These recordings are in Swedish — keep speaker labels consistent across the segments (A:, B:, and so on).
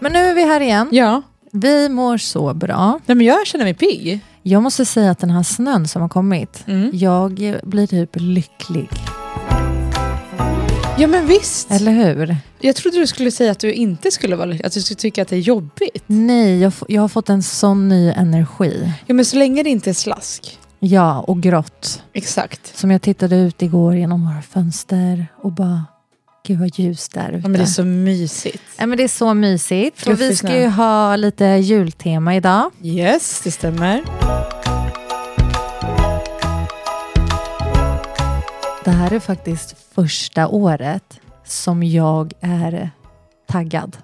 A: Men nu är vi här igen.
B: Ja.
A: Vi mår så bra.
B: Nej, men jag känner mig pigg.
A: Jag måste säga att den här snön som har kommit,
B: Mm.
A: jag blir typ lycklig.
B: Ja, men visst.
A: Eller hur?
B: Jag trodde du skulle säga att du inte skulle vara lycklig, att du skulle tycka att det är jobbigt.
A: Nej, jag, f- jag har fått en sån ny energi.
B: Ja, men så länge det inte är slask.
A: Ja, och grått.
B: Exakt.
A: Som jag tittade ut igår genom våra fönster och bara, gud vad ljus där ute.
B: Ja, men det är så mysigt.
A: Ja, men det är så mysigt. Och vi
B: Fluffig
A: ska
B: snö.
A: ju ha lite jultema idag.
B: Yes, det stämmer.
A: Det här är faktiskt första året som jag är taggad.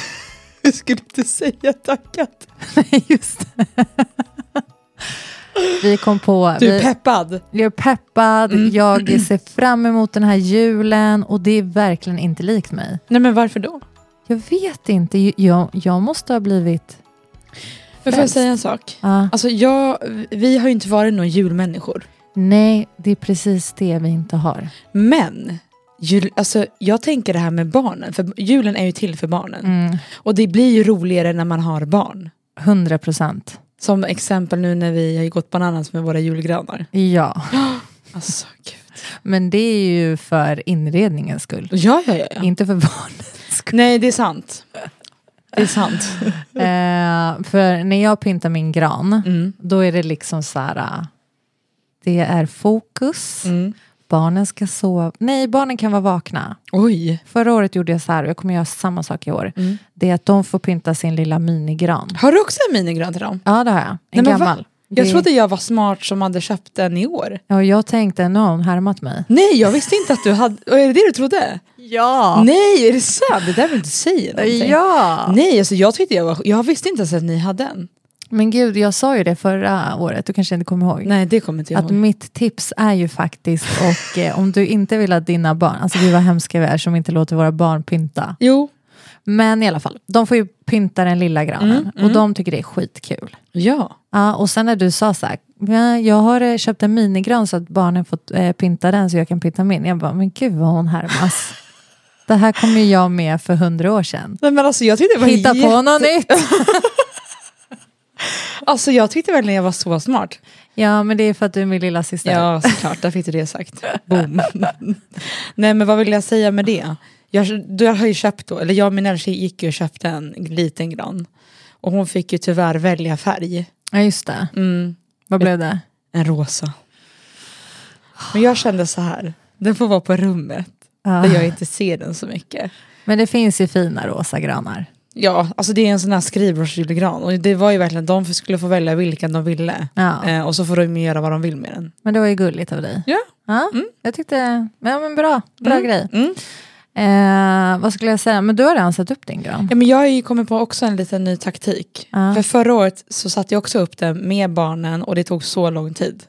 B: Jag skulle inte säga tackat.
A: Just det. Vi kom på...
B: Du är
A: vi,
B: peppad.
A: jag är peppad,
B: Mm.
A: jag ser fram emot den här julen och det är verkligen inte likt mig.
B: Nej, men varför då?
A: Jag vet inte, jag, jag måste ha blivit...
B: Men får jag
A: Frälst.
B: säga en sak?
A: Ah,
B: Alltså, jag, vi har ju inte varit några julmänniskor.
A: nej, det är precis det vi inte har.
B: Men jul, alltså, jag tänker det här med barnen, för julen är ju till för barnen.
A: Mm.
B: Och det blir ju roligare när man har barn.
A: 100 procent.
B: Som exempel nu när vi har ju gått bananas med våra julgranar.
A: Ja,
B: Alltså gud.
A: men det är ju för inredningens skull.
B: Ja, ja, ja. ja.
A: Inte för barnens skull.
B: Nej, det är sant. Det är sant.
A: Eh, för när jag pyntar min gran,
B: Mm.
A: då är det liksom så här... ah, Det är fokus.
B: Mm.
A: Barnen ska sova. Nej, barnen kan vara vakna.
B: Oj.
A: Förra året gjorde jag så här och jag kommer göra samma sak i år.
B: Mm.
A: Det är att de får pynta sin lilla minigran.
B: Har du också en minigran till dem?
A: Ja, det har jag. En
B: Nej, men va?
A: gammal.
B: Jag
A: det...
B: trodde jag var smart som hade köpt den i år.
A: Ja, jag tänkte, nu har hon härmat mig.
B: Nej, jag visste inte att du hade... Och är det det du trodde?
A: Ja!
B: Nej, är det sant? Det där vill inte säga
A: Mm.
B: någonting.
A: Ja!
B: Nej, alltså jag tyckte jag var... Jag visste inte ens att ni hade en.
A: Men gud, jag sa ju det förra året, du kanske inte kommer ihåg.
B: Nej, det kommer inte jag
A: Att
B: ihåg.
A: mitt tips är ju faktiskt, och eh, om du inte vill att dina barn, alltså gud vad hemska vi är som inte låter våra barn pynta.
B: Jo.
A: Men i alla fall, de får ju pynta den lilla grannen
B: Mm, mm.
A: och de tycker det är skitkul.
B: Ja.
A: Ja, och sen när du sa så här, "Ja, jag har eh, köpt en minigran så att barnen får eh, pynta den så jag kan pynta min. Jag bara, men gud vad hon härmas. det här kom ju jag med för hundra år sedan.
B: Nej, men alltså, jag tyckte det var
A: Hitta
B: jätte-
A: på något nytt!
B: Alltså jag tyckte verkligen jag var så smart.
A: Ja, men det är för att du är min lilla syster.
B: Ja, såklart. Där fick du det sagt. Boom. Nej, men vad vill jag säga med det? Jag, du har ju köpt då, eller jag och min äldre tjej gick ju och köpte en liten gran. Och hon fick ju tyvärr välja färg.
A: Ja, just det.
B: Mm,
A: Vad blev det?
B: en rosa. Men jag kände så här, den får vara på rummet
A: Ja.
B: där jag inte ser den så mycket.
A: Men det finns ju fina rosa granar.
B: Ja, alltså det är en sån här skrivbordsjulgran och det var ju verkligen, de skulle få välja vilken de ville.
A: Ja.
B: Eh, och så får de ju göra vad de vill med den.
A: Men det var ju gulligt av dig.
B: Ja.
A: Ja, Jag tyckte, ja men bra, bra grej.
B: Mm.
A: Eh, vad skulle jag säga, men du har redan satt upp din gran.
B: Ja, men jag har ju kommit på också en liten ny taktik.
A: Ja.
B: För förra året så satte jag också upp den med barnen och det tog så lång tid.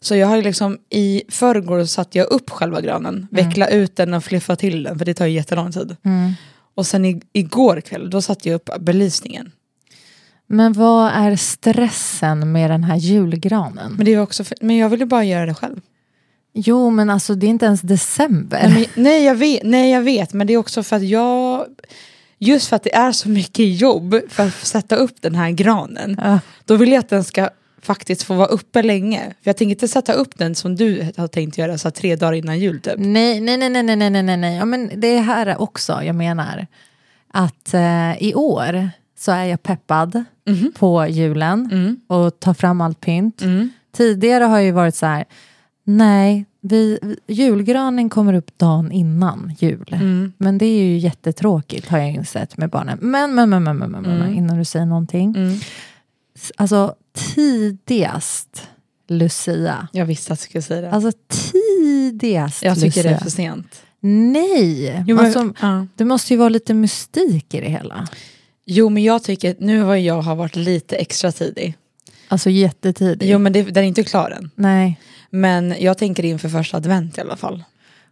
B: Så jag har ju liksom i förrgår så satte jag upp själva granen, veckla ut den och fliffa till den för det tar ju jättelång tid.
A: Mm.
B: Och sen i, igår kväll då satte jag upp belysningen.
A: Men vad är stressen med den här julgranen?
B: Men, det var också för, men jag ville bara göra det själv.
A: jo, men alltså det är inte ens december.
B: Nej, men, nej, jag vet, nej jag vet, men det är också för att jag... Just för att det är så mycket jobb för att sätta upp den här granen.
A: Ja.
B: Då vill jag att den ska faktiskt få vara uppe länge. För jag tänker inte sätta upp den som du har tänkt göra, så här, tre dagar innan jul typ.
A: Nej, nej, nej, nej, nej, nej, nej, nej, nej. Ja, men det är här också jag menar. Att eh, i år så är jag peppad på julen och tar fram allt pynt. Tidigare har jag ju varit så här, nej, vi, julgranen kommer upp dagen innan jul.
B: Mm.
A: Men det är ju jättetråkigt har jag insett med barnen. Men, men, men, men, men, men, men innan du säger någonting. S- Alltså tidigast Lucia.
B: Jag visste att du skulle säga det.
A: Alltså tidigast
B: jag tycker det
A: Lucia.
B: är för sent.
A: Nej,
B: Jo men,
A: alltså,
B: ja.
A: det måste ju vara lite mystik i det hela.
B: jo, men jag tycker att nu har jag har varit lite extra tidig.
A: Alltså jättetidigt.
B: Jo, men det, den är inte klar än.
A: Nej.
B: Men jag tänker inför första advent i alla fall.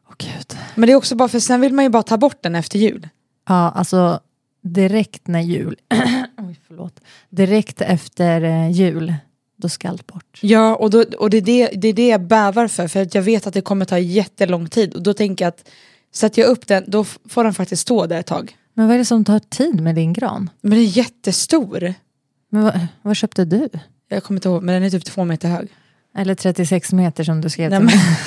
A: Åh gud.
B: Men det är också bara för sen vill man ju bara ta bort den efter jul.
A: Ja, alltså direkt när jul... Oj, förlåt. Direkt efter eh, jul, då ska allt bort.
B: Ja, och, då, och det, är det, det är det jag bävar för, för att jag vet att det kommer ta jättelång tid. Och då tänker jag att sätter jag upp den, då f- får den faktiskt stå där ett tag.
A: Men vad är det som tar tid med din gran?
B: Men den är jättestor.
A: Men vad, vad köpte du?
B: Jag kommer inte ihåg, men den är typ två meter hög.
A: Eller 36 meter som du skrev
B: Nej,
A: till
B: men,
A: mig.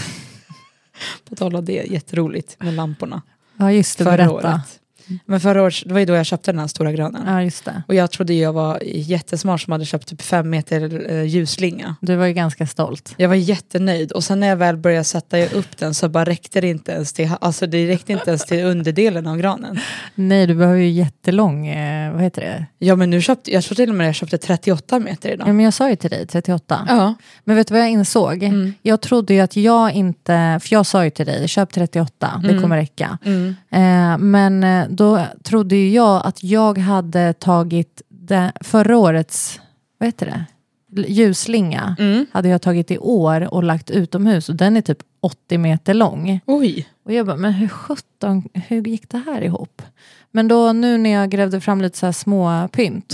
B: på tal om det, jätteroligt med lamporna.
A: Ja, just det.
B: Förra
A: berätta.
B: året. Men förra året, det var ju då jag köpte den här stora gröna.
A: Ja, just det.
B: Och jag trodde jag var jättesmart som hade köpt typ fem meter eh, ljusslinga.
A: Du var ju ganska stolt.
B: Jag var jättenöjd och sen när jag väl började sätta upp den så bara räckte det inte ens till, alltså det räckte inte ens till underdelen av granen.
A: Nej, du behöver ju jättelång, eh, vad heter det?
B: Ja men nu köpte, jag tror till och med jag köpte 38 meter
A: Ja.
B: idag.
A: men jag sa ju till dig 38.
B: Ja.
A: Men vet du vad jag insåg?
B: Mm.
A: Jag trodde ju att jag inte, för jag sa ju till dig, köp 38, det kommer räcka.
B: Mm.
A: Eh, men eh, då trodde ju jag att jag hade tagit det, förra årets, vad heter det? L- Ljusslinga
B: Mm.
A: hade jag tagit i år och lagt utomhus och den är typ 80 meter lång.
B: Oj.
A: Och jag bara, men hur sjutton, hur gick det här ihop? Men då nu när jag grävde fram lite så här små
B: Mm.
A: pynt,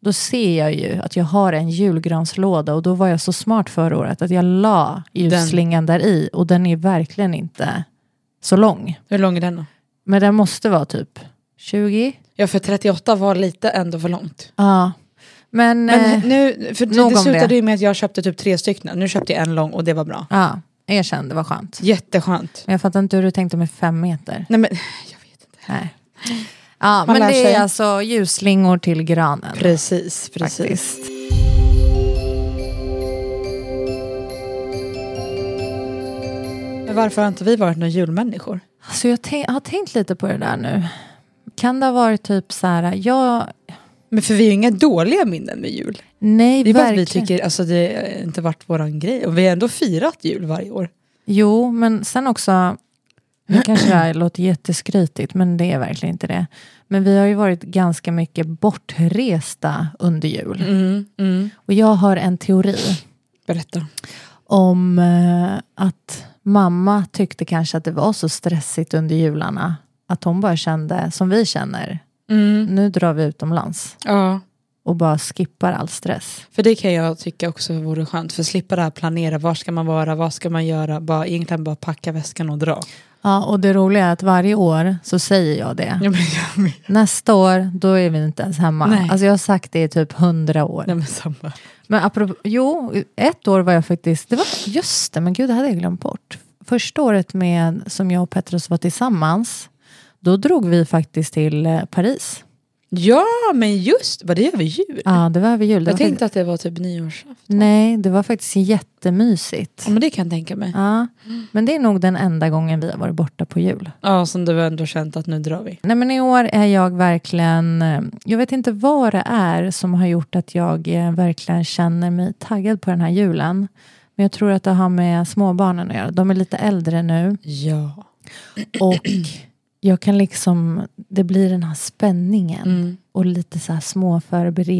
A: då ser jag ju att jag har en julgranslåda och då var jag så smart förra året att jag la ljusslingan där i och den är verkligen inte så lång.
B: Hur lång är den då?
A: Men den måste vara typ 20?
B: Ja för 38 var lite ändå för långt.
A: Ja. Men,
B: Men
A: eh,
B: nu, för det,
A: nog
B: det
A: om
B: slutade
A: det.
B: ju med att jag köpte typ tre stycken. Nu köpte jag en lång och det var bra.
A: ja, erkänn, det var skönt.
B: Jätteskönt.
A: Men jag fattar inte hur du tänkte med fem meter.
B: Nej men, jag vet inte.
A: Nej. Ja,
B: Man
A: men
B: lär
A: det
B: sig.
A: är alltså ljusslingor till granen.
B: Precis, precis.
A: Faktiskt.
B: Men varför har inte vi varit några julmänniskor?
A: Så jag, tän- jag har tänkt lite på det där nu. Kan det ha varit typ så här, jag,
B: Men för vi har ju inga dåliga minnen med jul.
A: nej
B: Det är bara att vi
A: verkligen.
B: tycker, alltså det har inte varit våran grej. Och vi har ändå firat jul varje år.
A: Jo, men sen också, nu kanske det här låter jätteskrytigt, men det är verkligen inte det. Men vi har ju varit ganska mycket bortresta under
B: Mm.
A: jul. Och jag har en teori
B: Berätta.
A: om eh, att mamma tyckte kanske att det var så stressigt under jularna. Att hon bara kände, som vi känner, nu drar vi utomlands
B: Mm, Ja.
A: och bara skippar all stress.
B: För det kan jag tycka också vore skönt. För slippa det här planera, var ska man vara, vad ska man göra. Bara, egentligen bara packa väskan och dra.
A: Ja, och det roliga är att varje år så säger jag det.
B: Ja, men, jag med.
A: Nästa år, då är vi inte ens hemma.
B: Nej.
A: Alltså jag har sagt det i typ hundra år.
B: Nej, men samma.
A: Men apropå, jo, ett år var jag faktiskt, det var, just det, men gud det hade jag glömt bort. Första året med, som jag och Petrus var tillsammans, då drog vi faktiskt till eh, Paris.
B: Ja, men just vad det gör vi jul.
A: Ja, det var över jul. Det
B: Jag
A: var
B: tänkte att det var typ nyårsafton.
A: faktiskt, nej, det var faktiskt jättemysigt.
B: Ja, men det kan jag tänka mig.
A: Ja, men det är nog den enda gången vi har varit borta på jul.
B: Ja, som du ändå känt att nu drar vi.
A: Nej men i år är jag verkligen, eh, jag vet inte vad det är som har gjort att jag eh, verkligen känner mig taggad på den här julen. Men jag tror att det har med småbarnen att göra. De är lite äldre nu
B: Ja.
A: och jag kan liksom, det blir den här spänningen
B: Mm.
A: och lite så här små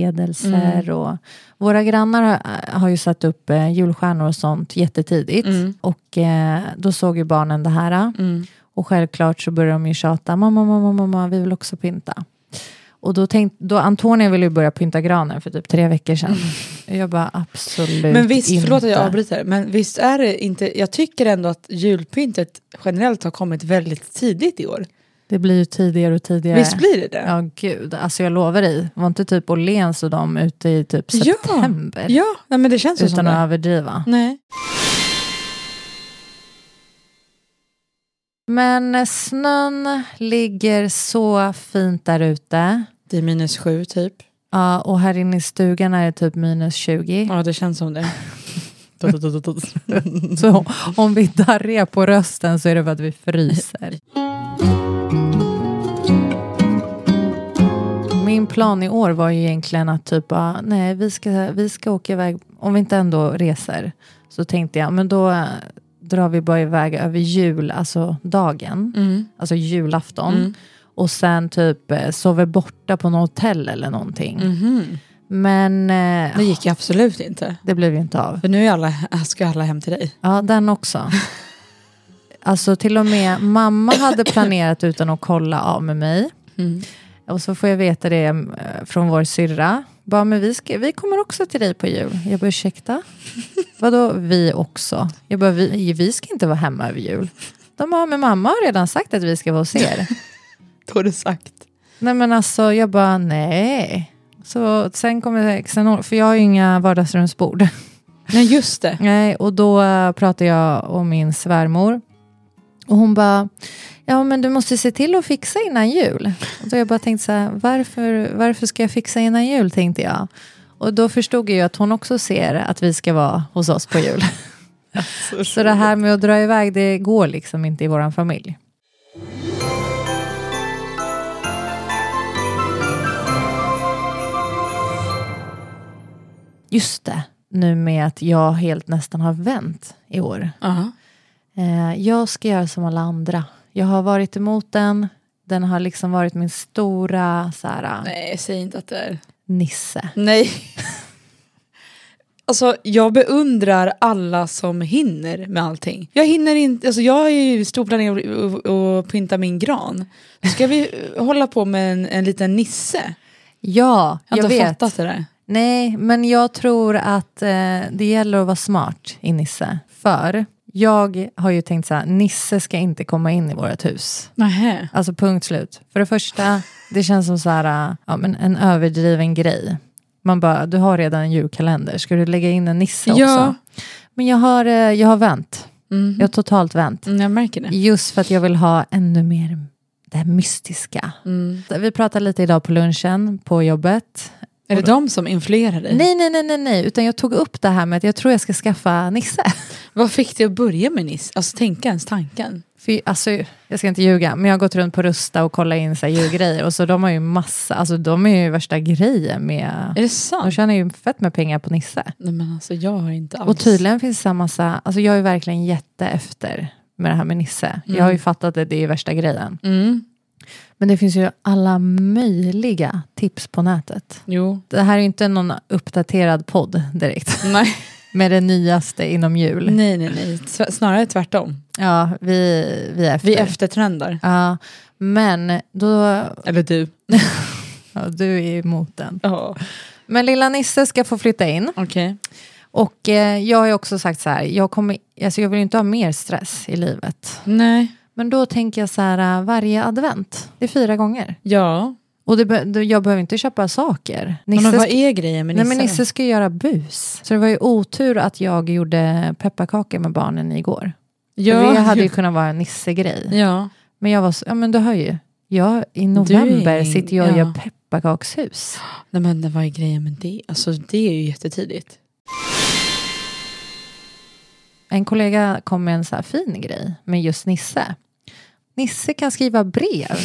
A: förberedelser. Och, våra grannar har, har ju satt upp eh, julstjärnor och sånt jättetidigt
B: Mm.
A: och eh, då såg ju barnen det här.
B: Mm.
A: Och självklart så började de ju tjata, mamma, mamma, mamma, vi vill också pynta. Och då tänkte, då Antonia ville ju börja pynta granen för typ tre veckor sedan. Jag bara absolut
B: Mm. Men visst,
A: Ehm, inte.
B: förlåt att jag avbryter, men visst är det inte, jag tycker ändå att julpyntet generellt har kommit väldigt tidigt i år.
A: Det blir ju tidigare och tidigare.
B: Visst blir det det?
A: Ja gud, alltså jag lovar dig, var inte typ Åhléns och de ute i typ
B: Ja.
A: september?
B: Ja, nej, men det känns ju som
A: Utan att
B: det.
A: överdriva.
B: Nej.
A: Men eh, snön ligger så fint där ute.
B: Det är minus sju typ.
A: Ja, och här inne i stugan är det typ minus 20.
B: Ja, det känns som det.
A: Så om vi darrar på rösten så är det för att vi fryser. Min plan i år var ju egentligen att typ, ah, nej vi ska, vi ska åka iväg, om vi inte ändå reser, så tänkte jag, men då eh, drar vi bara iväg över jul, alltså dagen,
B: Mm.
A: alltså julafton.
B: Mm.
A: Och sen typ eh, sover borta på något hotell eller någonting.
B: Mhm.
A: Men eh,
B: Det gick ju absolut inte.
A: det blev ju inte av.
B: För nu är alla, ska alla hem till dig.
A: Ja, den också. Alltså till och med mamma hade planerat utan att kolla av med mig.
B: Mm.
A: Och så får jag veta det eh, från vår syrra. Bara, men vi, ska, vi kommer också till dig på jul. Jag bara, ursäkta? Vadå vi också? Jag bara, vi, vi ska inte vara hemma över jul. De bara, men mamma har redan sagt att vi ska vara hos er.
B: Då är det sagt.
A: Nej men alltså jag bara nej. Så sen kommer xenol, för jag har ju inga vardagsrumsbord.
B: Nej just det.
A: Nej, och då eh, pratade jag om min svärmor. Och hon bara, ja men du måste se till att fixa innan jul. Och då jag bara tänkte så här, varför, varför ska jag fixa innan jul tänkte jag. Och då förstod jag ju att hon också ser att vi ska vara hos oss på jul. Så det här med att dra iväg, det går liksom inte i vår familj. Just det, nu med att jag helt nästan har vänt i år.
B: Ja.
A: Eh, jag ska göra som alla andra. Jag har varit emot den. Den har liksom varit min stora så här,
B: Nej säg inte att det är.
A: nisse.
B: Nej. Alltså jag beundrar alla som hinner med allting. Jag hinner inte, alltså jag är ju stor planering att- att- att pynta min gran. Ska vi hålla på med en, en liten nisse?
A: Ja,
B: Jag
A: jag,
B: har inte
A: vet.
B: fattat det där.
A: Nej, men jag tror att eh, det gäller att vara smart i Nisse. För jag har ju tänkt så här, Nisse ska inte komma in i vårt hus.
B: Nähä.
A: Alltså punkt slut. För det första, det känns som så här, eh, ja, men en överdriven grej. Man bara, du har redan en julkalender, ska du lägga in en Nisse också?
B: Ja.
A: Men jag har, eh, jag har vänt.
B: Mm.
A: Jag har totalt vänt.
B: Mm, Jag märker det.
A: Just för att jag vill ha ännu mer det här mystiska.
B: Mm.
A: Vi pratade lite idag på lunchen på jobbet.
B: Är det de som influerar dig?
A: Nej, nej, nej, nej, nej, utan jag tog upp det här med att jag tror jag ska skaffa Nisse.
B: Vad fick dig att börja med Nisse? Alltså tänka ens tanken.
A: För, alltså, jag ska inte ljuga, men jag har gått runt på Rusta och kollat in så här djurgrejer och så de har ju massa, alltså de är ju värsta grejen med,
B: Är det
A: de
B: sant?
A: tjänar ju fett med pengar på Nisse.
B: Nej men alltså jag har inte alls.
A: Och tydligen finns det så här massa, alltså jag är verkligen jätte efter med det här med Nisse. Jag har ju fattat att det är värsta grejen.
B: Mm.
A: Men det finns ju alla möjliga tips på nätet.
B: Jo.
A: Det här är ju inte någon uppdaterad podd direkt,
B: Nej.
A: med det nyaste inom jul.
B: nej, nej, nej. Tv- Snarare tvärtom.
A: Ja, vi, vi är efter.
B: Vi eftertrendar.
A: Ja, men då...
B: Eller du.
A: Ja, du är emot den.
B: Ja.
A: Men lilla Nisse ska få flytta in.
B: Okej.
A: Och eh, jag har ju också sagt så här, jag, kommer, alltså jag vill ju inte ha mer stress i livet.
B: Nej.
A: Men då tänker jag så här, eh, varje advent, det är fyra gånger.
B: Ja.
A: Och det, be- det- jag behöver inte köpa saker.
B: Men,
A: Nisse,
B: vad
A: ska-
B: är grejen med
A: nej,
B: Nisse?
A: men Nisse ska ju göra bus. Så det var ju otur att jag gjorde pepparkakor med barnen igår.
B: ja.
A: Det hade ju kunnat vara en Nisse-grej.
B: Ja.
A: Men jag var så, ja men du hör ju. Jag, I
B: Du
A: november
B: är-
A: sitter jag och
B: ja.
A: gör pepparkakshus.
B: Nej men det- vad är grejen med det? Alltså det är ju jättetidigt.
A: En kollega kom med en så här fin grej med just Nisse. Nisse kan skriva brev.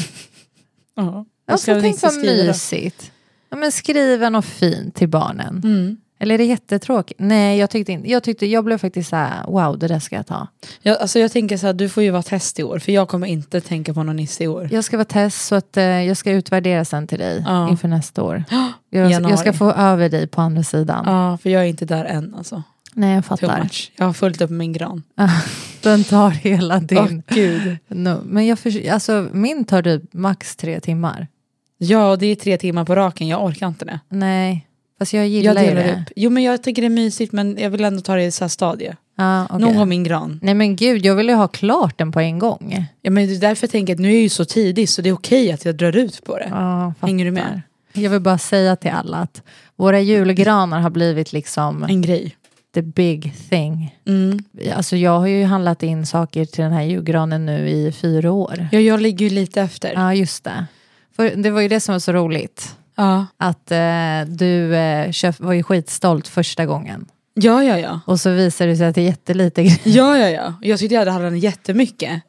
B: Ja.
A: Alltså, tänk vad mysigt. Ja, men skriva något fint till barnen.
B: Mm.
A: Eller är det jättetråkigt? Nej, jag tyckte inte. Jag, tyckte, jag blev faktiskt så här, wow, det där ska jag ta.
B: Jag, alltså jag tänker så här, du får ju vara test i år för jag kommer inte tänka på någon Nisse i år.
A: Jag ska vara test så att eh, jag ska utvärdera sen till dig
B: Ja.
A: inför nästa år. Jag,
B: januari.
A: jag ska få över dig på andra sidan.
B: Ja, för jag är inte där än alltså.
A: Nej, jag
B: Too
A: fattar.
B: much. Jag har fullt upp med min gran.
A: Den tar hela din...
B: Åh gud.
A: No, men jag förs- alltså, min tar typ max tre timmar.
B: Ja, det är tre timmar på raken, jag orkar inte det.
A: Nej, fast jag gillar
B: Jag
A: ju
B: delar
A: det.
B: upp. Jo men jag tycker det är mysigt men jag vill ändå ta det i så här stadie.
A: Ja, okej.
B: Nog om min gran.
A: Nej men gud, jag vill ju ha klart den på en gång.
B: Ja, men det är därför jag tänker att nu är jag ju så tidig så det är okej att jag drar ut på det.
A: Ja,
B: Hänger du
A: fattar.
B: med?
A: Jag vill bara säga till alla att våra julgranar har blivit liksom
B: En grej.
A: the big thing.
B: Mm.
A: Alltså jag har ju handlat in saker till den här julgranen nu i fyra år.
B: Ja, jag ligger ju lite efter.
A: Ja, just det. För det var ju det som var så roligt.
B: Ja,
A: Att eh, du eh, köpt, var ju skitstolt första gången.
B: ja, ja. ja.
A: Och så visade det sig att det är jättelite grejer.
B: Ja, ja, ja. Jag tyckte jag hade handlat jättemycket.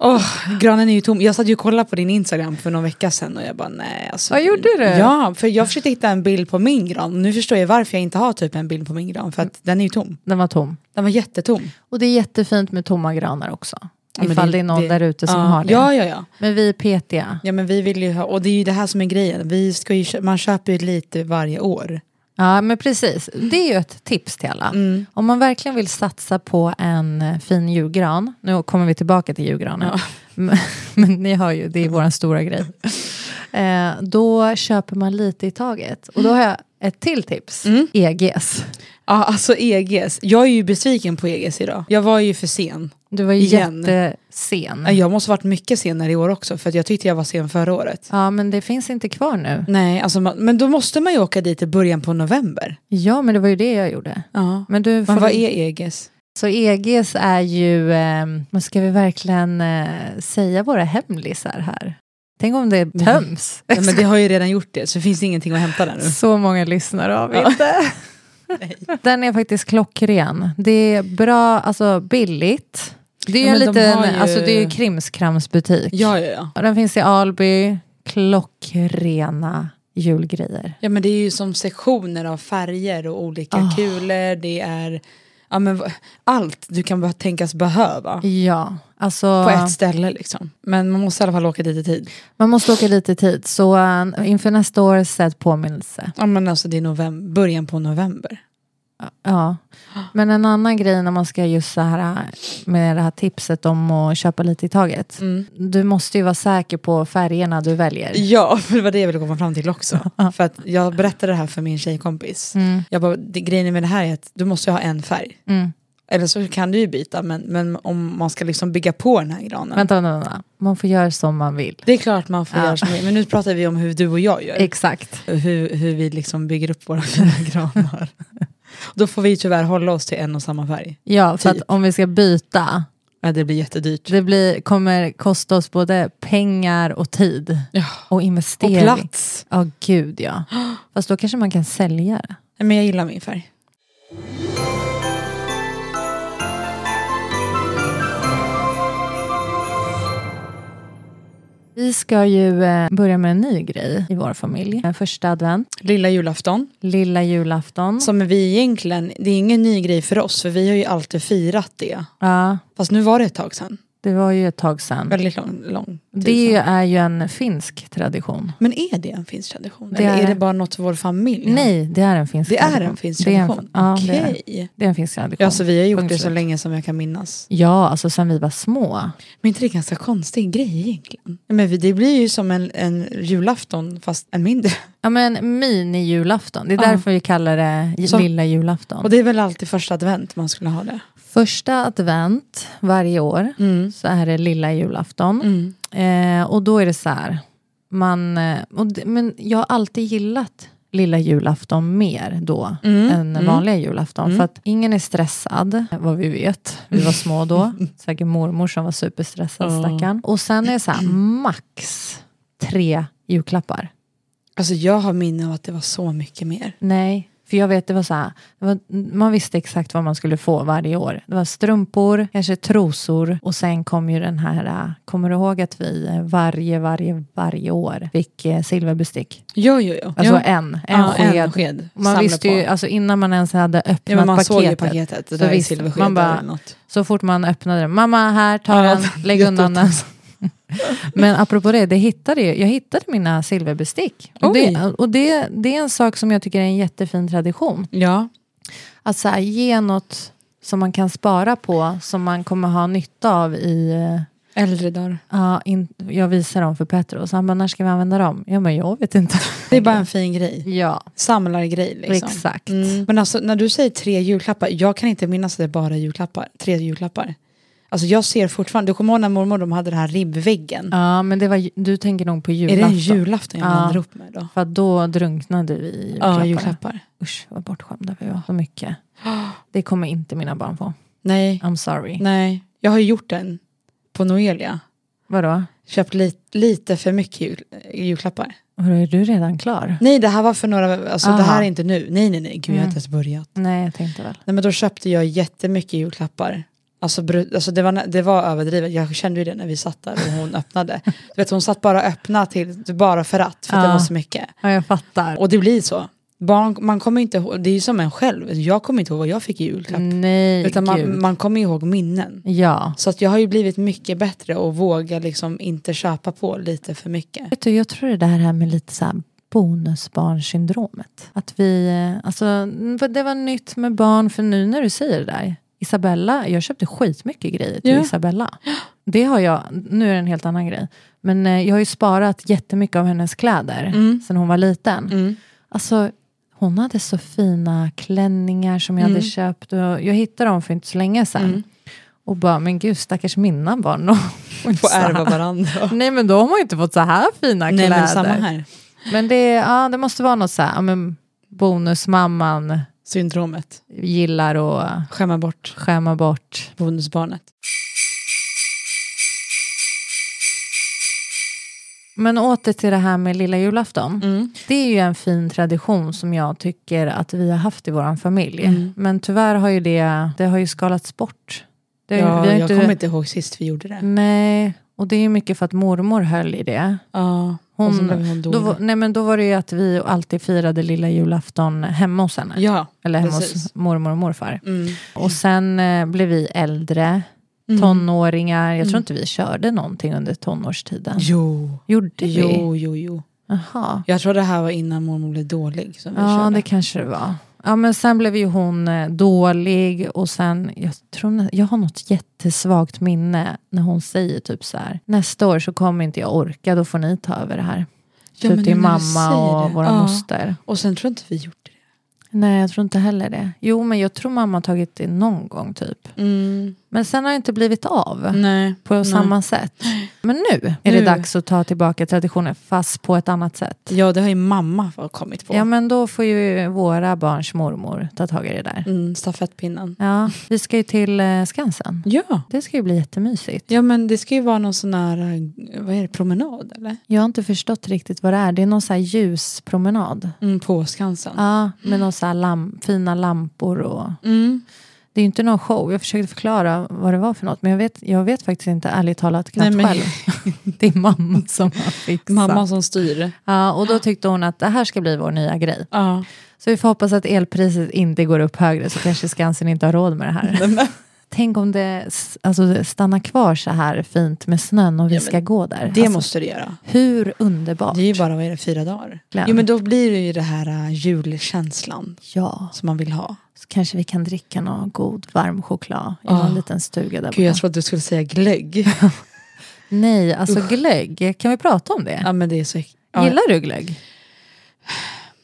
B: Åh, granen är ju tom. Jag satt ju och kollade på din Instagram för någon vecka sedan och jag bara nej. Alltså,
A: Ja, gjorde du?
B: Ja, för jag försökte hitta en bild på min gran. Nu förstår jag varför jag inte har typ en bild på min gran för
A: Mm.
B: att den är ju tom.
A: Den var tom.
B: Den var jättetom.
A: Och det är jättefint med tomma granar också.
B: Ja, men
A: ifall
B: det-
A: det, är någon
B: det-
A: där ute som
B: ja,
A: har det.
B: Ja, ja, ja.
A: Men vi är petiga.
B: Ja men vi vill ju ha, och det är ju det här som är grejen, vi ska ju, kö- man köper ju lite varje år.
A: Ja, men precis. Det är ju ett tips till alla.
B: Mm.
A: Om man verkligen vill satsa på en fin julgran. Nu kommer vi tillbaka till julgranen. Men, men ni hör ju, det är vår stora grej. Eh, då köper man lite i taget. Och då har jag ett till tips. E EGs.
B: E Ja alltså EGs, jag är ju besviken på EGs idag. Jag var ju för sen.
A: Du var ju
B: Igen.
A: jättesen.
B: Nej, Jag måste ha varit mycket senare i år också för att jag tyckte jag var sen förra året.
A: Ja, men det finns inte kvar nu.
B: Nej, alltså, man- men då måste man ju åka dit i början på november.
A: Ja, men det var ju det jag gjorde.
B: Ja.
A: Men du,
B: Men
A: får-
B: vad är E EGs?
A: Så EGs är ju, ehm, men ska vi verkligen eh, säga våra hemlisar här? Tänk om det
B: Mm.
A: töms.
B: Ja, men det har ju redan gjort det så finns det ingenting att hämta där nu.
A: Så många lyssnare har vi
B: Ja.
A: inte. Den är faktiskt klockren. Det är bra, alltså billigt. Det är ju
B: Ja,
A: en
B: men de
A: liten,
B: har ju-
A: alltså det är ju krimskramsbutik.
B: Ja, ja, ja.
A: Och den finns i Alby, klockrena julgrejer.
B: Ja men det är ju som sektioner av färger och olika
A: Ah.
B: kulor, det är ja, men, v- allt du kan bara tänkas behöva.
A: Ja, alltså
B: På ett ställe liksom. Men man måste i alla fall åka dit i tid.
A: man måste åka lite i tid. Så eh, inför nästa år, sätt påminnelse.
B: Ja men alltså det är november, början på november.
A: Ja, men en annan grej när man ska just så här äh, med det här tipset om att köpa lite i taget.
B: Mm.
A: Du måste ju vara säker på färgerna du väljer.
B: Ja, för det var det jag ville komma fram till också. för att jag berättade det här för min tjejkompis.
A: Mm,
B: Jag bara, det, grejen med det här är att du måste ju ha en färg.
A: mm.
B: Eller så kan du ju byta, men, men om man ska liksom bygga på den här granen.
A: Vänta, vänta, vänta. Man får göra som man vill.
B: Det är klart man får
A: Ja.
B: göra som Men nu pratar vi om hur du och jag gör.
A: Exakt.
B: hur, hur vi liksom bygger upp våra fina granar. Då får vi tyvärr hålla oss till en och samma färg.
A: Ja, för
B: Typ.
A: att om vi ska byta,
B: Ja, det blir jättedyrt.
A: det blir, kommer kosta oss både pengar och tid.
B: Ja.
A: Och
B: Och
A: investering.
B: plats.
A: Ja, gud ja. Fast då kanske man kan sälja det.
B: Nej, Men jag gillar min färg.
A: Vi ska ju eh, börja med en ny grej i vår familj. Eh, Första advent,
B: Lilla julafton.
A: lilla julafton.
B: Som vi egentligen, det är ingen ny grej för oss för vi har ju alltid firat det.
A: Ja,
B: Fast nu var det ett tag sedan.
A: det var ju ett tag sedan.
B: Väldigt lång, lång tid
A: Det
B: sedan.
A: är ju en finsk tradition.
B: Men är det en finsk tradition?
A: Det
B: Eller
A: är-
B: är det bara något vår familj har?
A: Nej, det är en finsk
B: Det är
A: tradition.
B: en finsk
A: Det är en-
B: tradition?
A: ja, det är det.
B: Okej.
A: Det är en finsk tradition.
B: Ja, så vi har gjort
A: Punkt
B: det så
A: slut.
B: länge som jag kan minnas.
A: Ja, alltså sen vi var små.
B: Men inte det är ganska konstig grej egentligen? Ja, Men vi- det blir ju som en, en julafton fast en mindre.
A: Ja men mini-julafton, det är
B: Ja.
A: därför vi kallar det j-
B: Så-
A: lilla julafton.
B: Och det är väl alltid första advent man skulle ha det?
A: Första advent varje år så är det lilla julafton.
B: Mm.
A: Eh, och då är det så här, man, eh, och det, men jag har alltid gillat lilla julafton mer då
B: Mm,
A: än
B: mm.
A: vanliga julafton. För att ingen är stressad, vad vi vet. Vi var små då. Säkert mormor som var superstressad,
B: Ja.
A: stackarn. Och sen är det så här, max tre julklappar.
B: Alltså jag har minne av att det var så mycket mer.
A: Nej, för jag vet det var så här, det var, man visste exakt vad man skulle få varje år. Det var strumpor, kanske trosor och sen kom ju den här, äh, kommer du ihåg att vi eh, varje, varje, varje år fick eh, silverbestick?
B: Jo, jo, jo.
A: Alltså
B: ja.
A: en, en
B: ja,
A: sked.
B: en sked.
A: Man
B: Samla
A: visste
B: på.
A: ju, alltså innan man ens hade öppnat
B: ja, men man såg ju
A: paketet,
B: paketet. Det
A: så
B: där är
A: visste-
B: silversked
A: man bara-
B: eller något.
A: så fort man öppnade den, mamma här, ta
B: Ja,
A: den, lägg
B: jätteotäckt.
A: undan den. Men apropå det, det hittade jag, jag hittade mina silverbestick. Och,
B: Oj.
A: det, och det, det är en sak som jag tycker är en jättefin tradition.
B: Ja.
A: Att så här, ge något som man kan spara på, som man kommer ha nytta av i... eh,
B: Äldre dagar.
A: Ja, in, jag visar dem för Petros, han bara, när ska vi använda dem? Ja, men jag vet inte.
B: Det är bara en fin grej.
A: Ja,
B: Samlargrej liksom.
A: exakt.
B: Mm. Men alltså när du säger tre julklappar, jag kan inte minnas att det är bara julklappar. Tre julklappar. Alltså jag ser fortfarande, du kommer ihåg när mormor de hade den här ribbväggen?
A: Ja, men det var, ju- du tänker nog på
B: Är det
A: julafton.
B: en julafton jag
A: Ja.
B: blandar upp med då?
A: För att då drunknade vi i julklapparna.
B: Ja, julklappar.
A: Usch, vad bortskämda vi var. Så mycket. Det kommer inte mina barn få.
B: Nej,
A: I'm sorry.
B: nej. Jag har ju gjort den på Noelia.
A: Vadå?
B: Köpt li- lite för mycket jul- eh, julklappar.
A: Vadå, är du redan klar?
B: Nej, det här var för några, alltså det
A: Aha. Mm.
B: här är inte nu. Nej, nej, nej, gud jag har inte ens börjat.
A: Nej, jag tänkte väl.
B: Nej men då köpte jag jättemycket julklappar. Alltså, bru- alltså det, var, nä- det var överdrivet, jag kände ju det när vi satt där och hon öppnade. Du vet hon satt bara och öppnade till, bara för att, för att
A: Ja.
B: det var så mycket.
A: Ja, jag fattar.
B: Och det blir så. Barn, man kommer inte ihåg, det är ju som en själv, jag kommer inte ihåg vad jag fick i julklapp.
A: Nej,
B: Utan
A: gud.
B: man, man kommer ihåg minnen.
A: Ja.
B: Så att jag har ju blivit mycket bättre och vågar liksom inte köpa på lite för mycket.
A: Vet du, jag tror det där här med lite så här bonusbarnsyndromet. Att vi, eh, alltså, n- det var nytt med barn, för nu när du säger det där. Isabella, jag köpte skitmycket grejer till
B: Ja.
A: Isabella. Det har jag, nu är det en helt annan grej. Men eh, jag har ju sparat jättemycket av hennes kläder sen hon var liten.
B: Mm.
A: Alltså, hon hade
B: Mm.
A: så fina klänningar som jag hade köpt. Och jag hittade dem för inte så länge sedan. Och bara, men gud stackars mina barn. Och
B: Få
A: så här.
B: ärva varandra.
A: Nej men då har man ju inte fått så här fina
B: Nej
A: kläder.
B: men samma här.
A: Men det, ja, det måste vara något så här, ja, men bonusmamman
B: Syndromet.
A: gillar att äh,
B: Skämma bort
A: skämma bort.
B: bonusbarnet.
A: Men åter till det här med lilla julafton.
B: Mm.
A: Det är ju en fin tradition som jag tycker att vi har haft i vår familj.
B: Mm.
A: Men tyvärr har ju det, det har ju skalats bort. Det,
B: Ja,
A: Eh, vi har
B: jag
A: inte- Mm.
B: kommer inte ihåg sist vi gjorde det.
A: Nej, och det är ju mycket för att mormor höll i det.
B: Ja, och så
A: Hon-
B: blev hon
A: Då,
B: dålig.
A: var- nej, men då var det ju att vi alltid firade lilla julafton hemma hos henne.
B: Ja,
A: Eller hemma
B: precis.
A: hos mormor och morfar.
B: mm.
A: Och sen eh, blev vi äldre, tonåringar. Jag tror inte vi körde någonting under tonårstiden.
B: Mm. Jo.
A: Gjorde vi?
B: Jo, jo, jo.
A: Jaha.
B: Jag tror det här var innan mormor blev dålig som vi
A: Ja,
B: körde.
A: det kanske det var. Ja, men sen blev ju hon eh, dålig och sen, jag tror, nä- jag har något jättesvagt minne när hon säger typ så här, nästa år så kommer inte jag orka, då får ni ta över det här.
B: Ja, men
A: typ till
B: när du
A: mamma
B: säger
A: och
B: det.
A: våra
B: Ja.
A: moster.
B: Och sen tror jag inte vi gjorde det.
A: Nej, jag tror inte heller det. Jo, men jag tror mamma har tagit det någon gång typ. Men sen har det inte blivit av.
B: Nej.
A: På samma sätt. Men Mm. nu är
B: Nu.
A: det dags att ta tillbaka traditionen fast på ett annat sätt.
B: Ja, det har ju mamma kommit på.
A: Ja men då får ju våra barns mormor ta tag i det där.
B: Mm, stafettpinnen.
A: Ja, vi ska ju till eh, Skansen.
B: Ja.
A: Det ska ju bli jättemysigt.
B: ja, men det ska ju vara någon sån här, eh, vad är det, promenad eller?
A: Jag har inte förstått riktigt vad det är. Det är någon så här ljuspromenad.
B: Mm, på Skansen.
A: Ja, med någon så här lam- fina lampor och...
B: Mm.
A: Det är ju inte någon show. Jag försökte förklara vad det var för något. Men jag vet, jag vet faktiskt inte, ärligt talat, knappt
B: Nej, men-
A: själv. Det är mamma som har fixat.
B: Mamma som styr.
A: Ja, och då tyckte hon att det här ska bli vår nya grej.
B: Ja.
A: Så vi får hoppas att elpriset inte går upp högre så kanske Skansen inte har råd med det här. Tänk om det s- alltså, det stannar kvar så här fint med snön och vi
B: Ja, men
A: ska gå där.
B: Det
A: alltså,
B: måste du göra.
A: Hur underbart.
B: Det är ju bara, vad är det, fyra dagar?
A: Verkligen.
B: Jo, men då blir det ju det här eh, julkänslan
A: Ja,
B: som man vill ha.
A: så kanske vi kan dricka någon god varm choklad i någon
B: Ah.
A: liten stuga där
B: Gud, jag
A: borta.
B: trodde du skulle säga glögg.
A: Nej, alltså glögg. Kan vi prata om det?
B: ja, men det är så... Ja.
A: Gillar du glögg?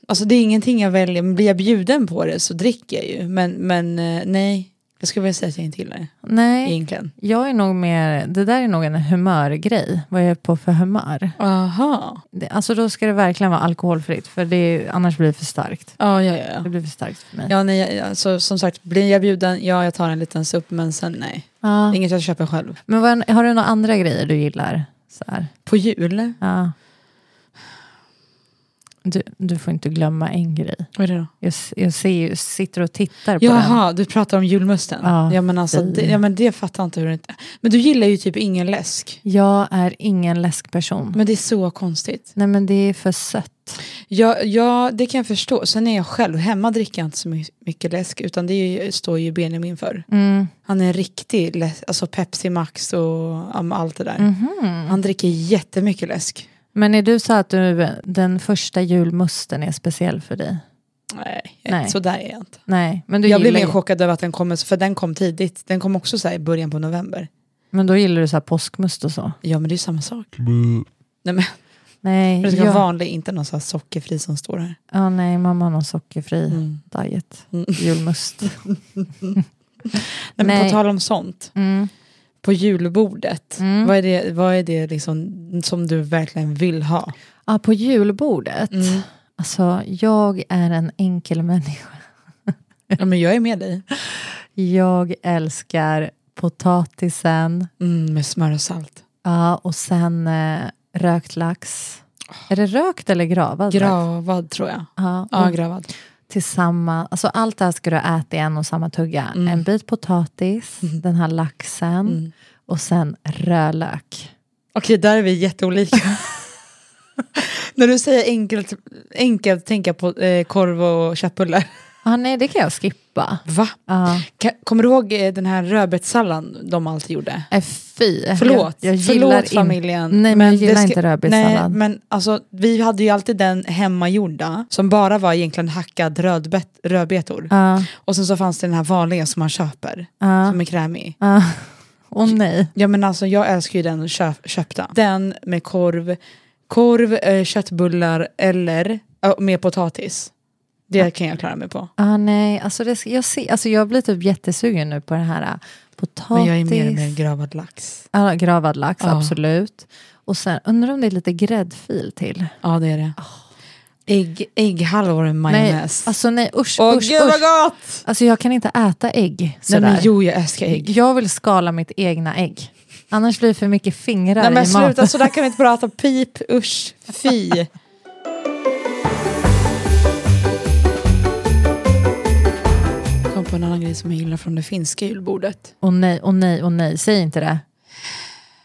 B: Alltså det är ingenting jag väljer, men blir jag bjuden på det så dricker jag ju. Men, men eh, nej, jag skulle vilja säga att jag inte gillar det
A: Nej,
B: egentligen.
A: jag är nog mer, det där är nog en humörgrej. Vad jag är på för humör.
B: Aha.
A: Det, alltså då ska det verkligen vara alkoholfritt, för det, är- annars blir det för starkt.
B: Ja, ja, ja.
A: Det
B: ja.
A: blir för starkt för mig.
B: Ja, nej, jag- alltså, som sagt, blir jag bjuden, ja, jag tar en liten supp, men sen nej.
A: Ja.
B: Inget jag köper själv.
A: Men vad, har du några andra grejer du gillar? Så här.
B: På jul,
A: Ja. Du, du får inte glömma en grej.
B: vad är det då?
A: Jag, s- jag ser ju, sitter och tittar på den.
B: Jaha, du pratar om julmusten.
A: Ja,
B: Ja, men alltså,
A: fy.
B: det, ja, men det fattar jag inte hur det inte... Men du gillar ju typ ingen läsk.
A: Jag är ingen läskperson.
B: Men det är så konstigt.
A: Nej men det är för sött.
B: Ja, ja, det kan jag förstå. Sen är jag själv, hemma dricker jag inte så my- mycket läsk, utan det är ju, står ju Benjamin för.
A: Mm.
B: Han är en riktig läs- alltså Pepsi Max och ja, men allt det där.
A: Mhm.
B: Han dricker jättemycket läsk.
A: Men är du så att du, den första julmusten är speciell för dig?
B: Nej,
A: Nej.
B: så där är jag inte.
A: Nej, men du
B: jag blev
A: gillar
B: mer
A: ju,
B: chockad över att den kom, för den kom tidigt. Den kom också så här i början på november.
A: Men då gillar du så här påskmust och så?
B: Ja, men det är ju samma sak. Nej, men,
A: Nej,
B: det ska vara
A: jag-
B: vanlig, inte någon så här sockerfri som står här.
A: Ja, nej, mamma har någon sockerfri
B: Mm.
A: diet.
B: Mm.
A: Julmust.
B: Nej, men på
A: Nej.
B: tal om sånt,
A: Mm.
B: på julbordet,
A: Mm.
B: vad är det, vad är det liksom, som du verkligen vill ha?
A: Ja, på julbordet.
B: Mm.
A: Alltså, jag är en enkel människa.
B: Ja, men jag är med dig.
A: Jag älskar potatisen
B: Mm, med smör och salt.
A: ja, och sen eh, rökt lax. Är det rökt eller gravad? lax?
B: Gravad tror jag.
A: Ja,
B: Ja,
A: och
B: gravad.
A: tillsammans, alltså allt det här ska du äta i en och samma tugga.
B: Mm.
A: En bit potatis, den här laxen
B: Mm.
A: och sen rödlök.
B: Okej, där är vi jätteolika. När du säger enkelt, enkelt tänker jag på eh, korv och köttbullar.
A: Ah, nej, det kan jag skippa.
B: Va?
A: Ja.
B: Ka- Kommer du ihåg eh, den här rödbetssalladen de alltid gjorde?
A: Nej, Eh, fy.
B: Förlåt,
A: jag, jag gillar
B: förlåt
A: in-
B: familjen.
A: Nej, men jag
B: det
A: gillar
B: ska-
A: inte
B: Nej,
A: rödbetssallad.
B: men alltså, vi hade ju alltid den hemmagjorda som bara var egentligen hackad rödbet, rödbetor.
A: Ja,
B: Och sen så fanns det den här vanliga som man köper,
A: ja,
B: som är krämig.
A: ja. Åh nej.
B: Ja men alltså jag älskar ju den köp, köpta. Den med korv, korv, eh, köttbullar eller ja, med potatis. Det kan jag klara mig på.
A: Ah, nej. Alltså, det, jag, ser, alltså, jag blir typ jättesugen nu på den här äh, potatis.
B: Men jag är mer och mer gravad lax.
A: Ja, gravad lax,
B: Ja.
A: absolut. Och sen undrar om det är lite gräddfil till.
B: Ja det är det. Ägg, ägghalvor med majonnäs.
A: Nej, alltså nej usch,
B: Åh
A: usch,
B: gud vad
A: usch.
B: gott!
A: Alltså jag kan inte äta ägg
B: Nej
A: sådär.
B: men jo jag älskar ägg.
A: Jag vill skala mitt egna ägg. Annars blir det för mycket fingrar
B: Nej men
A: i maten.
B: sluta sådär kan vi inte prata. Pip, usch, fy. Kom på en annan grej som jag gillar från det finska julbordet.
A: Och nej, och nej, och nej. Säg inte det.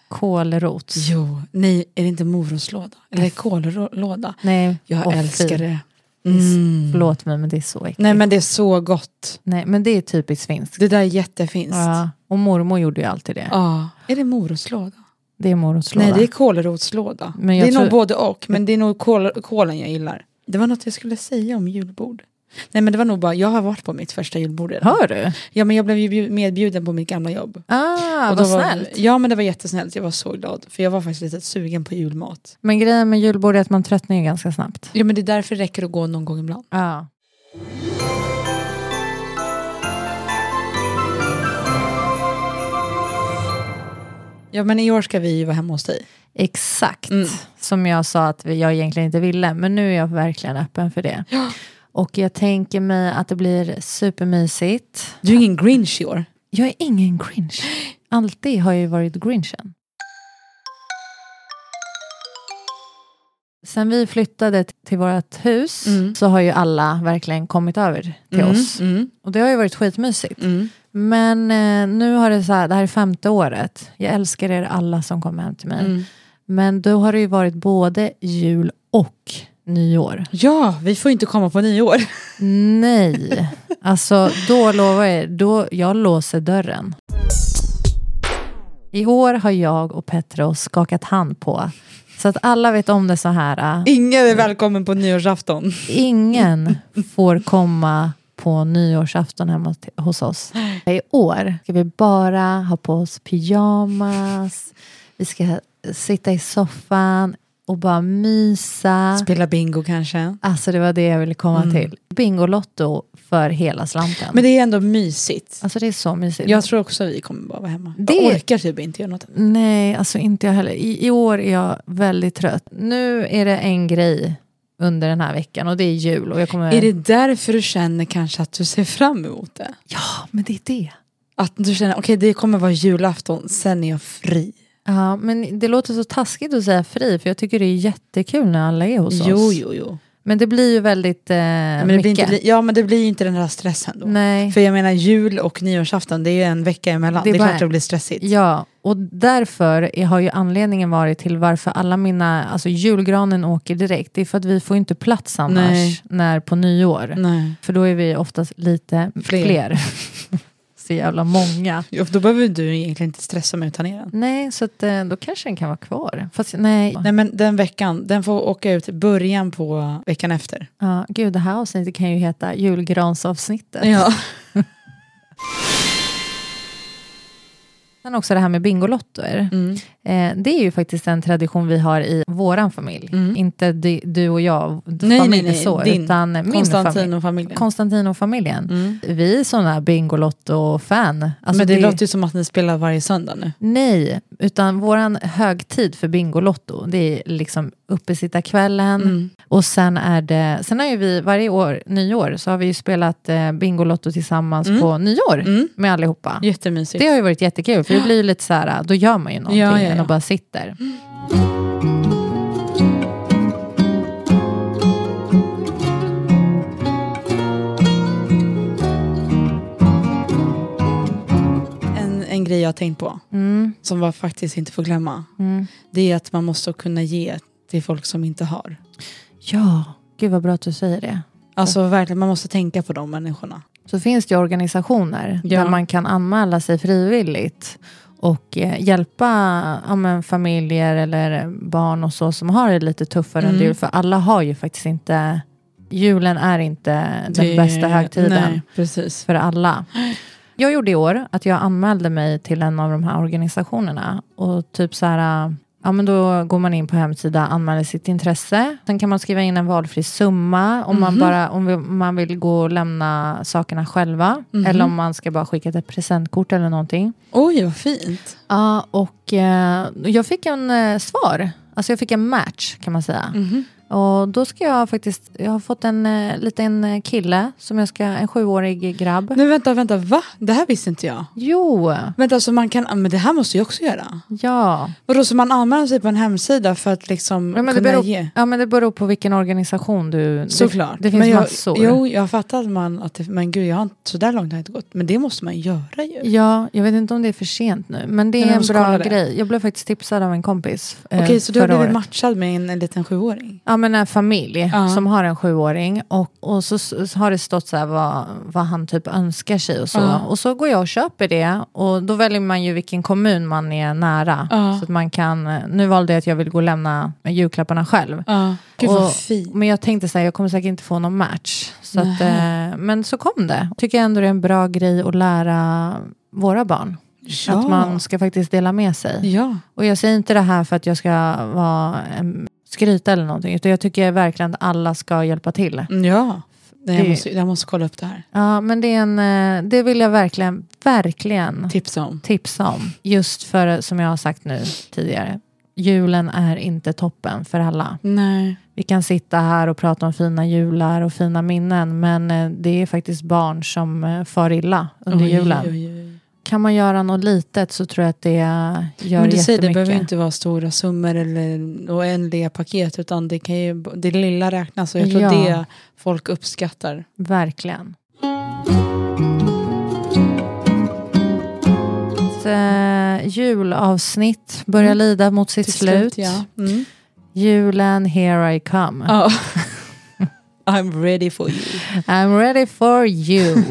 A: Kålrots.
B: Jo, nej är det inte morotslåda? Eller kållåda?
A: Nej.
B: Jag
A: åh, fy.
B: älskar det.
A: Visst.
B: Mm.
A: Förlåt mig, men det är så äckligt.
B: Nej men det är så gott.
A: Nej, men det är typiskt finskt.
B: Det där är jättefinskt.
A: Ja. Och mormor gjorde ju alltid det.
B: Ja. Är det morotslåda?
A: Det är morotslåda.
B: Nej, det är kålrotslåda.
A: Men
B: det
A: jag
B: är nog
A: tror-
B: både och, men det är nog kål, kålen jag gillar. Det var något jag skulle säga om julbord. Nej men det var nog bara, jag har varit på mitt första julbord redan.
A: Hör du?
B: Ja men jag blev ju bjud- medbjuden på mitt gamla jobb.
A: Ah,
B: Och då
A: vad
B: var,
A: snällt.
B: Ja men det var jättesnällt, jag var så glad. För jag var faktiskt lite sugen på julmat.
A: Men grejen med julbord är att man tröttnar ju ganska snabbt.
B: Ja men det är därför det räcker att gå någon gång ibland.
A: Ja.
B: Ja men i år ska vi ju vara hemma hos dig.
A: Exakt.
B: Mm.
A: Som jag sa att vi- jag egentligen inte ville, men nu är jag verkligen öppen för det. Och jag tänker mig att det blir supermysigt.
B: Du är ingen grinch i år.
A: Jag är ingen grinch. Alltid har jag ju varit grinchen. Sen vi flyttade t- till vårt hus
B: Mm.
A: så har ju alla verkligen kommit över till oss.
B: Mm,
A: Och det har ju varit skitmysigt.
B: mm.
A: Men eh, nu har det så här, det här är femte året. Jag älskar er alla som kommer hem till mig.
B: Mm.
A: Men då har det ju varit både jul och nyår.
B: Ja, vi får ju inte komma på nyår.
A: Nej, alltså då lovar jag er, då jag låser dörren. I år har jag och Petros skakat hand på. Så att alla vet om det så här. äh,
B: Ingen är välkommen på nyårsafton.
A: Ingen får komma på nyårsafton hemma t- hos oss. I år ska vi bara ha på oss pyjamas. Vi ska sitta i soffan och bara mysa.
B: Spela bingo kanske.
A: Alltså det var det jag ville komma till. Bingolotto för hela slanten.
B: Men det är ändå mysigt.
A: Alltså det är så mysigt.
B: Jag tror också vi kommer bara vara hemma.
A: Det-
B: Jag orkar typ inte göra något.
A: Nej, alltså inte jag heller. I, I år är jag väldigt trött. Nu är det en grej under den här veckan och det är jul. Och jag kommer...
B: Är det därför du känner kanske att du ser fram emot det?
A: Ja, men det är det.
B: Att du känner okej det kommer vara julafton, sen är jag fri.
A: Ja, men det låter så taskigt att säga fri för jag tycker det är jättekul när alla är hos
B: Jo,
A: oss.
B: jo, jo.
A: Men det blir ju väldigt eh,
B: Men det
A: mycket.
B: blir inte, li- ja men det blir ju inte den här stressen då.
A: Nej.
B: För jag menar jul och nyårsafton det är ju en vecka emellan.
A: Det
B: Det
A: är
B: är,
A: bara-
B: klart det blir stressigt.
A: Ja, och därför är- har ju anledningen varit till varför alla mina, alltså julgranen åker direkt. Det är för att vi får ju inte plats annars
B: Nej.
A: när på nyår.
B: Nej.
A: För då är vi oftast lite fler.
B: Fler.
A: så jävla många.
B: Jo, Då behöver du egentligen inte stressa med att ta ner den.
A: Nej, så att, eh, då kanske den kan vara kvar. Fast nej.
B: Nej men den veckan, den får åka ut i början på veckan efter.
A: Ja, gud, det här avsnittet kan ju heta julgransavsnittet.
B: Ja.
A: Sen också det här med Bingolottor.
B: Mm.
A: Eh, det är ju faktiskt en tradition vi har i våran familj.
B: Mm.
A: Inte du, du och jag,
B: Nej,
A: familj
B: nej, nej,
A: så,
B: din.
A: utan min familj.
B: Konstantin och familjen.
A: Konstantinofamiljen.
B: Mm.
A: Vi är sådana Bingolotto-fan. Alltså
B: men det, låter ju som att ni spelar varje söndag nu.
A: Nej, utan våran högtid för Bingolotto, det är liksom uppesittarkvällen
B: Mm.
A: och sen är det, sen har ju vi varje år, nyår, så har vi ju spelat eh, Bingolotto tillsammans
B: Mm.
A: på nyår
B: Mm.
A: med allihopa.
B: Jättemysigt.
A: Det har ju varit jättekul, för det blir ju lite så här, då gör man ju någonting
B: Ja, ja,
A: än
B: ja. Mm.
A: att bara sitter.
B: En, en grej jag har tänkt på,
A: Mm,
B: som man faktiskt inte får glömma,
A: mm.
B: det är att man måste kunna ge till folk som inte har.
A: Ja, gud vad bra att du säger det.
B: Alltså verkligen, man måste tänka på de människorna.
A: så finns det ju organisationer
B: Ja.
A: där man kan anmäla sig frivilligt och eh, hjälpa ja, men, familjer eller barn och så som har det lite tuffare
B: Mm.
A: under jul. För alla har ju faktiskt inte, julen är inte den
B: Det-
A: bästa högtiden
B: Nej, precis.
A: för alla. Jag gjorde i år att jag anmälde mig till en av de här organisationerna och typ så här, Ja, men då går man in på hemsida, anmäler sitt intresse. Sen kan man skriva in en valfri summa om, man, bara, om vi- om man vill gå och lämna sakerna själva. Eller om man ska bara skicka ett presentkort eller någonting.
B: Oj, vad fint.
A: Ja, och eh, jag fick en eh, svar. Alltså jag fick en match kan man säga.
B: Mhm.
A: Och då ska jag faktiskt, jag har fått en eh, liten eh, kille, som jag ska, en sjuårig grabb.
B: Nu vänta, vänta, va? Det här visste inte jag.
A: Jo,
B: Vänta, så man kan, men det här måste jag också göra.
A: ja.
B: Vadå, så man anmäler sig på en hemsida för att liksom
A: Ja, men det,
B: kunna
A: beror,
B: ge?
A: ja, men det beror på vilken organisation du...
B: Såklart.
A: Det, det finns
B: men jag,
A: massor.
B: Jo, jag fattar att man, att det, men gud, jag har inte, så där långt har jag inte gått. Men det måste man göra ju.
A: Ja, jag vet inte om det är för sent nu, men det
B: Men
A: är
B: jag
A: en
B: måste
A: bra
B: kolla det.
A: grej. Jag blev faktiskt tipsad av en kompis eh,
B: Okej, så du har
A: förra
B: blivit
A: året.
B: matchad med en, en liten sjuåring?
A: Ja, men en familj
B: Ja.
A: som har en sjuåring och, och så, s- har det stått så här vad, vad han typ önskar sig och så.
B: Ja.
A: Och så går jag och köper det och då väljer man ju vilken kommun man är nära.
B: Ja.
A: Så att man kan, eh, nu valde jag att jag vill gå och lämna julklapparna själv.
B: Ja. Gud,
A: Och-
B: vad fint.
A: Men jag tänkte så här, jag kommer säkert inte få någon match. Så att, eh, men så kom det. Tycker jag ändå det är en bra grej att lära våra barn.
B: Ja.
A: Att man ska faktiskt dela med sig.
B: Ja.
A: Och jag säger inte det här för att jag ska vara em, skryta eller någonting. Utan jag tycker verkligen att alla ska hjälpa till.
B: Mm, ja. Nej, jag,
A: Det-
B: måste, jag måste kolla upp det här.
A: Ja, men det, är en, eh, det vill jag verkligen, verkligen
B: Tipsa om.
A: tipsa om. Just för, som jag har sagt nu tidigare, julen är inte toppen för alla.
B: Nej.
A: Vi kan sitta här och prata om fina jular och fina minnen men eh, det är faktiskt barn som eh, far illa under
B: Oj,
A: julen.
B: oj, oj.
A: Kan man göra något litet så tror jag att det gör
B: Men du
A: jättemycket.
B: säger, det behöver inte vara stora summor eller oändliga paket utan det, kan ju, det lilla räknas och jag tror
A: Ja.
B: det folk uppskattar.
A: Verkligen. Ett, eh, julavsnitt börjar
B: Mm.
A: lida mot sitt
B: Till
A: slut.
B: ja. Mm.
A: Julen, here I come.
B: Ja. I'm ready for you.
A: I'm ready for you.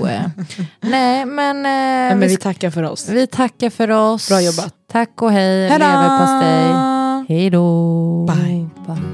A: Nej, men, eh,
B: Nej,
A: vi,
B: men vi
A: ska-
B: tackar för oss.
A: vi tackar för oss.
B: Bra jobbat.
A: Tack och hej, leverpastej. Hej då!
B: Bye.
A: Bye.